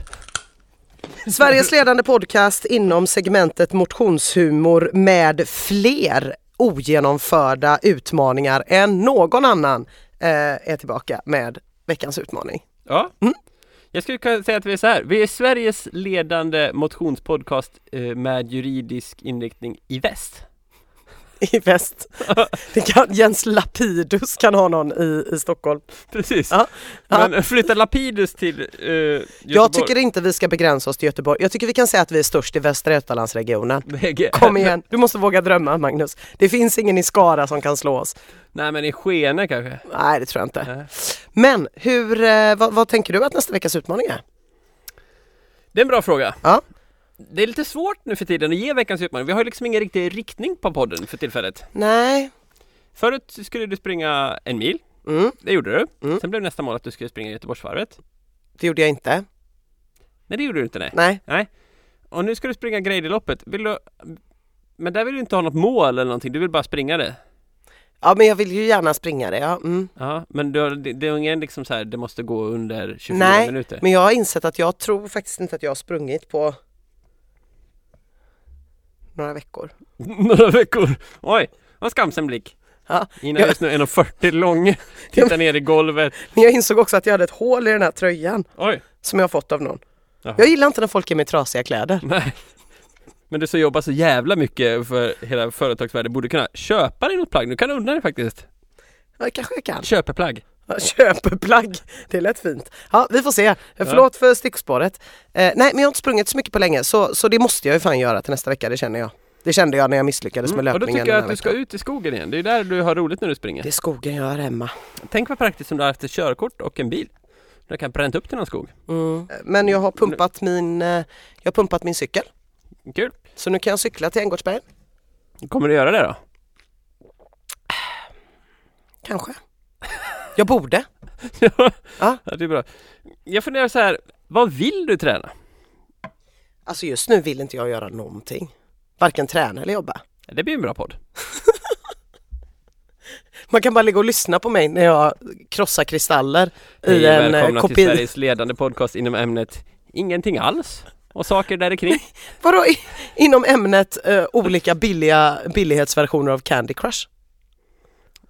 S1: Sveriges ledande podcast inom segmentet motionshumor med fler ogenomförda utmaningar än någon annan eh, är tillbaka med veckans utmaning.
S2: Ja Jag skulle kunna säga att vi är så här, vi är Sveriges ledande motionspodcast eh, med juridisk inriktning i väst
S1: I väst. Det kan, Jens Lapidus kan ha någon i, i Stockholm.
S2: Precis.
S1: Ja.
S2: Men flytta Lapidus till eh,
S1: Jag tycker inte vi ska begränsa oss till Göteborg. Jag tycker vi kan säga att vi är störst i Västra Götalandsregionen.
S2: Bägge.
S1: Kom igen, du måste våga drömma Magnus. Det finns ingen i Skara som kan slå oss.
S2: Nej men i Skene kanske.
S1: Nej, det tror jag inte.
S2: Nej.
S1: Men hur, eh, vad, vad tänker du att nästa veckas utmaning är?
S2: Det är en bra fråga.
S1: Ja.
S2: Det är lite svårt nu för tiden att ge veckans utmaning. Vi har ju liksom ingen riktig riktning på podden för tillfället.
S1: Nej.
S2: Förut skulle du springa en mil.
S1: Mm.
S2: Det gjorde du.
S1: Mm.
S2: Sen blev nästa mål att du skulle springa Göteborgsvarvet.
S1: Det gjorde jag inte.
S2: Nej det gjorde du inte nej.
S1: Nej.
S2: Och nu ska du springa Grejdeloppet. Vill du... Men där vill du inte ha något mål eller någonting. Du vill bara springa det.
S1: Ja men jag vill ju gärna springa det. Ja. Mm.
S2: Ja, men du har, det, det är ingen liksom så här, det måste gå under 24
S1: Nej,
S2: minuter.
S1: Men jag har insett att jag tror faktiskt inte att jag har sprungit på några veckor.
S2: Några veckor. Oj, vad skamsen blick.
S1: Ja.
S2: Ina är just nu 1,40 lång. Tittar ner i golvet.
S1: Men jag insåg också att jag hade ett hål i den här tröjan
S2: Oj.
S1: som jag har fått av någon.
S2: Jaha.
S1: Jag gillar inte när folk är med trasiga kläder.
S2: Nej. Men du som jobbar så jävla mycket för hela företagsvärlden borde kunna köpa dig något plagg. Du kan unna dig faktiskt.
S1: Ja, kanske jag kan.
S2: Köpeplagg.
S1: Köper plagg. Det lät fint. Ja, vi får se. Eh, Förlåt för stickspåret. Eh, nej, men jag har inte sprungit så mycket på länge så, så det måste jag ju fan göra till nästa vecka, det känner jag. Det kände jag när jag misslyckades med
S2: Mm. Och då
S1: löpningen
S2: tycker jag
S1: den
S2: att
S1: här
S2: du ska
S1: veckan.
S2: ut i skogen igen. Det är där du har roligt när du springer.
S1: Det är skogen jag har hemma.
S2: Tänk vad praktiskt som du har haft ett körkort och en bil. Du kan bränna upp till någon skog.
S1: Eh, Men jag har pumpat min, eh, jag har pumpat min cykel.
S2: Kul.
S1: Så nu kan jag cykla till Änggårdsbergen.
S2: Kommer du göra det då?
S1: Kanske. Jag borde. Ja.
S2: ja, det är bra. Jag funderar så här, vad vill du träna?
S1: Alltså just nu vill inte jag göra någonting. Varken träna eller jobba.
S2: Det blir en bra podd.
S1: Man kan bara ligga och lyssna på mig när jag krossar kristaller i
S2: Hej och
S1: en eh,
S2: välkomna till
S1: kopia.
S2: Sveriges ledande podcast inom ämnet Ingenting alls och saker där kring.
S1: Vadå i, inom ämnet eh, olika billiga billighetsversioner av Candy Crush?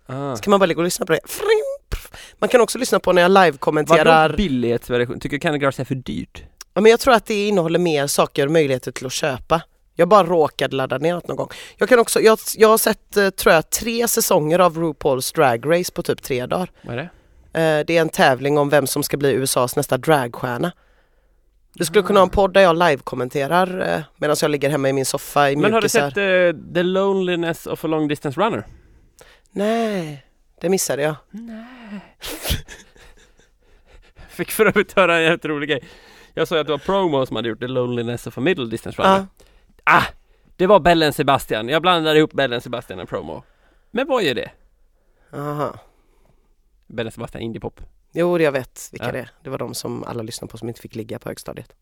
S2: Ah.
S1: Kan man bara ligga och lyssna på det? Fring, pff. Man kan också lyssna på när jag
S2: Vadå
S1: live-kommenterar.
S2: billighetsversion? Tycker Candy Crush är för dyrt?
S1: Ja, men jag tror att det innehåller mer saker och möjligheter till att köpa. Jag bara råkade ladda ner något någon gång. Jag, kan också, jag, jag har sett, eh, tror jag, tre säsonger av RuPaul's Drag Race på typ tre dagar.
S2: Vad är det?
S1: Eh, Det är en tävling om vem som ska bli USAs nästa dragstjärna. Du skulle kunna ha en
S2: Ah.
S1: podd där jag live-kommenterar eh, medan jag ligger hemma i min soffa i
S2: Men har du
S1: mjukisar.
S2: sett eh, The Loneliness of a Long Distance Runner?
S1: Nej, det missade jag.
S2: Fick för övrigt höra en jävligt rolig grej. Jag sa ju att det var Promo som hade gjort The Loneliness of a Middle Distance Runner.
S1: Ja.
S2: Ah! Det var Bellen Sebastian. Jag blandade ihop Bellen Sebastian och Promo. Men vad är det?
S1: Ah. Aha.
S2: Bellen Sebastian Indiepop.
S1: Jo, jag vet vilka
S2: Ja.
S1: det är. Det var de som alla lyssnade på som inte fick ligga på högstadiet.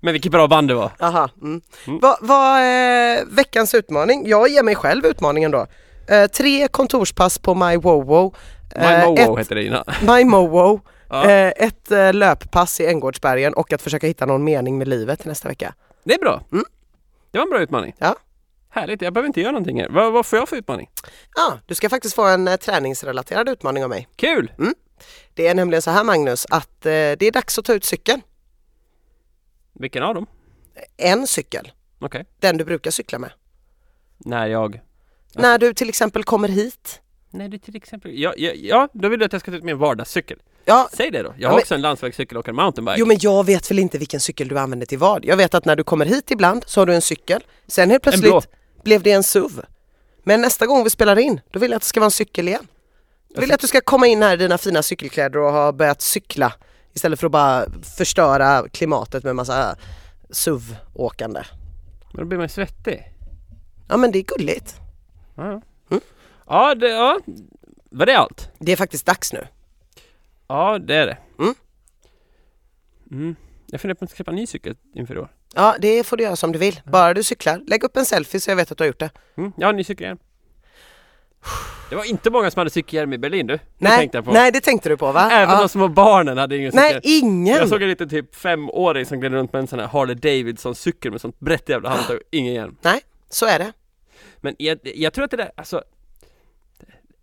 S2: Men vilket bra band det var!
S1: Aha. Mm. Vad vad, eh, veckans utmaning? Jag ger mig själv utmaningen då. Eh, tre kontorspass på My Wowo.
S2: My
S1: Eh,
S2: Mowo
S1: ett-
S2: hette det innan.
S1: My Mowo.
S2: Ja.
S1: Eh, ett eh, löppass i Änggårdsbergen och att försöka hitta någon mening med livet till nästa vecka.
S2: Det är bra!
S1: Mm.
S2: Det var en bra utmaning.
S1: Ja.
S2: Härligt, jag behöver inte göra någonting här. Vad, vad får jag för utmaning?
S1: Ja, du ska faktiskt få en eh, träningsrelaterad utmaning av mig.
S2: Kul!
S1: Det är nämligen så här Magnus, att eh, det är dags att ta ut cykeln.
S2: Vilken av dem?
S1: En cykel,
S2: Okej.
S1: den du brukar cykla med.
S2: När jag... Alltså-
S1: När du till exempel kommer hit.
S2: När du till exempel... Ja, ja, ja, då vill du att jag ska ta ut min vardagscykel.
S1: Ja,
S2: Säg det då! Jag
S1: Ja,
S2: har
S1: men-
S2: också en landsvägscykel och en mountainbike.
S1: jo men jag vet väl inte vilken cykel du använder till vad. Jag vet att när du kommer hit ibland så har du en cykel. Sen helt
S2: En blå.
S1: plötsligt blev det en SUV. Men nästa gång vi spelar in, då vill jag att det ska vara en cykel igen. Då vill jag att du ska komma in här i dina fina cykelkläder och ha börjat cykla istället för att bara förstöra klimatet med massa SUV-åkande.
S2: Men då blir man ju svettig.
S1: Ja men det är gulligt.
S2: Ja,
S1: Mm.
S2: ja. ja, det, ja. Var det allt?
S1: Det är faktiskt dags nu.
S2: Ja, det är det.
S1: Mm.
S2: Mm. Jag funderar på att köpa en ny cykel inför i år.
S1: Ja, det får du göra som du vill. Bara du cyklar. Lägg upp en selfie så jag vet att du har gjort det.
S2: Mm. Jag har en ny cykelhjälm. Det var inte många som hade cykelhjälm i Berlin du. Det
S1: Nej,
S2: tänkte jag på.
S1: nej det tänkte du på va?
S2: Även
S1: ja.
S2: de små barnen hade ingen
S1: Nej,
S2: cykelhjälm. Jag
S1: ingen!
S2: såg en liten typ femåring som gled runt med en sån här Harley Davidson cykel med sånt brett jävla handtag och ingen hjälm.
S1: Nej, så är det.
S2: Men jag, jag tror att det där, alltså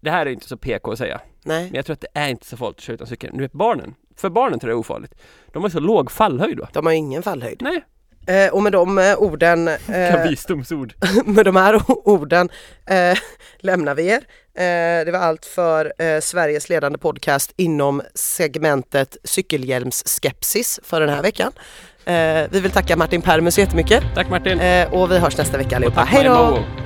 S2: Det här är ju inte så PK att säga
S1: Nej.
S2: Men jag tror att det är inte så farligt att köra utan cykel Nu vet barnen, för barnen tror jag det är ofarligt De har så låg fallhöjd va?
S1: De har ingen fallhöjd.
S2: Nej,
S1: Eh, och med de eh, orden,
S2: vilka
S1: eh,
S2: visdomsord
S1: med de här orden eh, lämnar vi er. Eh, det var allt för eh, Sveriges ledande podcast inom segmentet cykelhjälmsskepsis för den här veckan. Eh, vi vill tacka Martin Permus så jättemycket
S2: Tack Martin!
S1: eh, och vi hörs nästa vecka allihopa.
S2: Tack
S1: Hej
S2: Maja
S1: då!
S2: Mowo.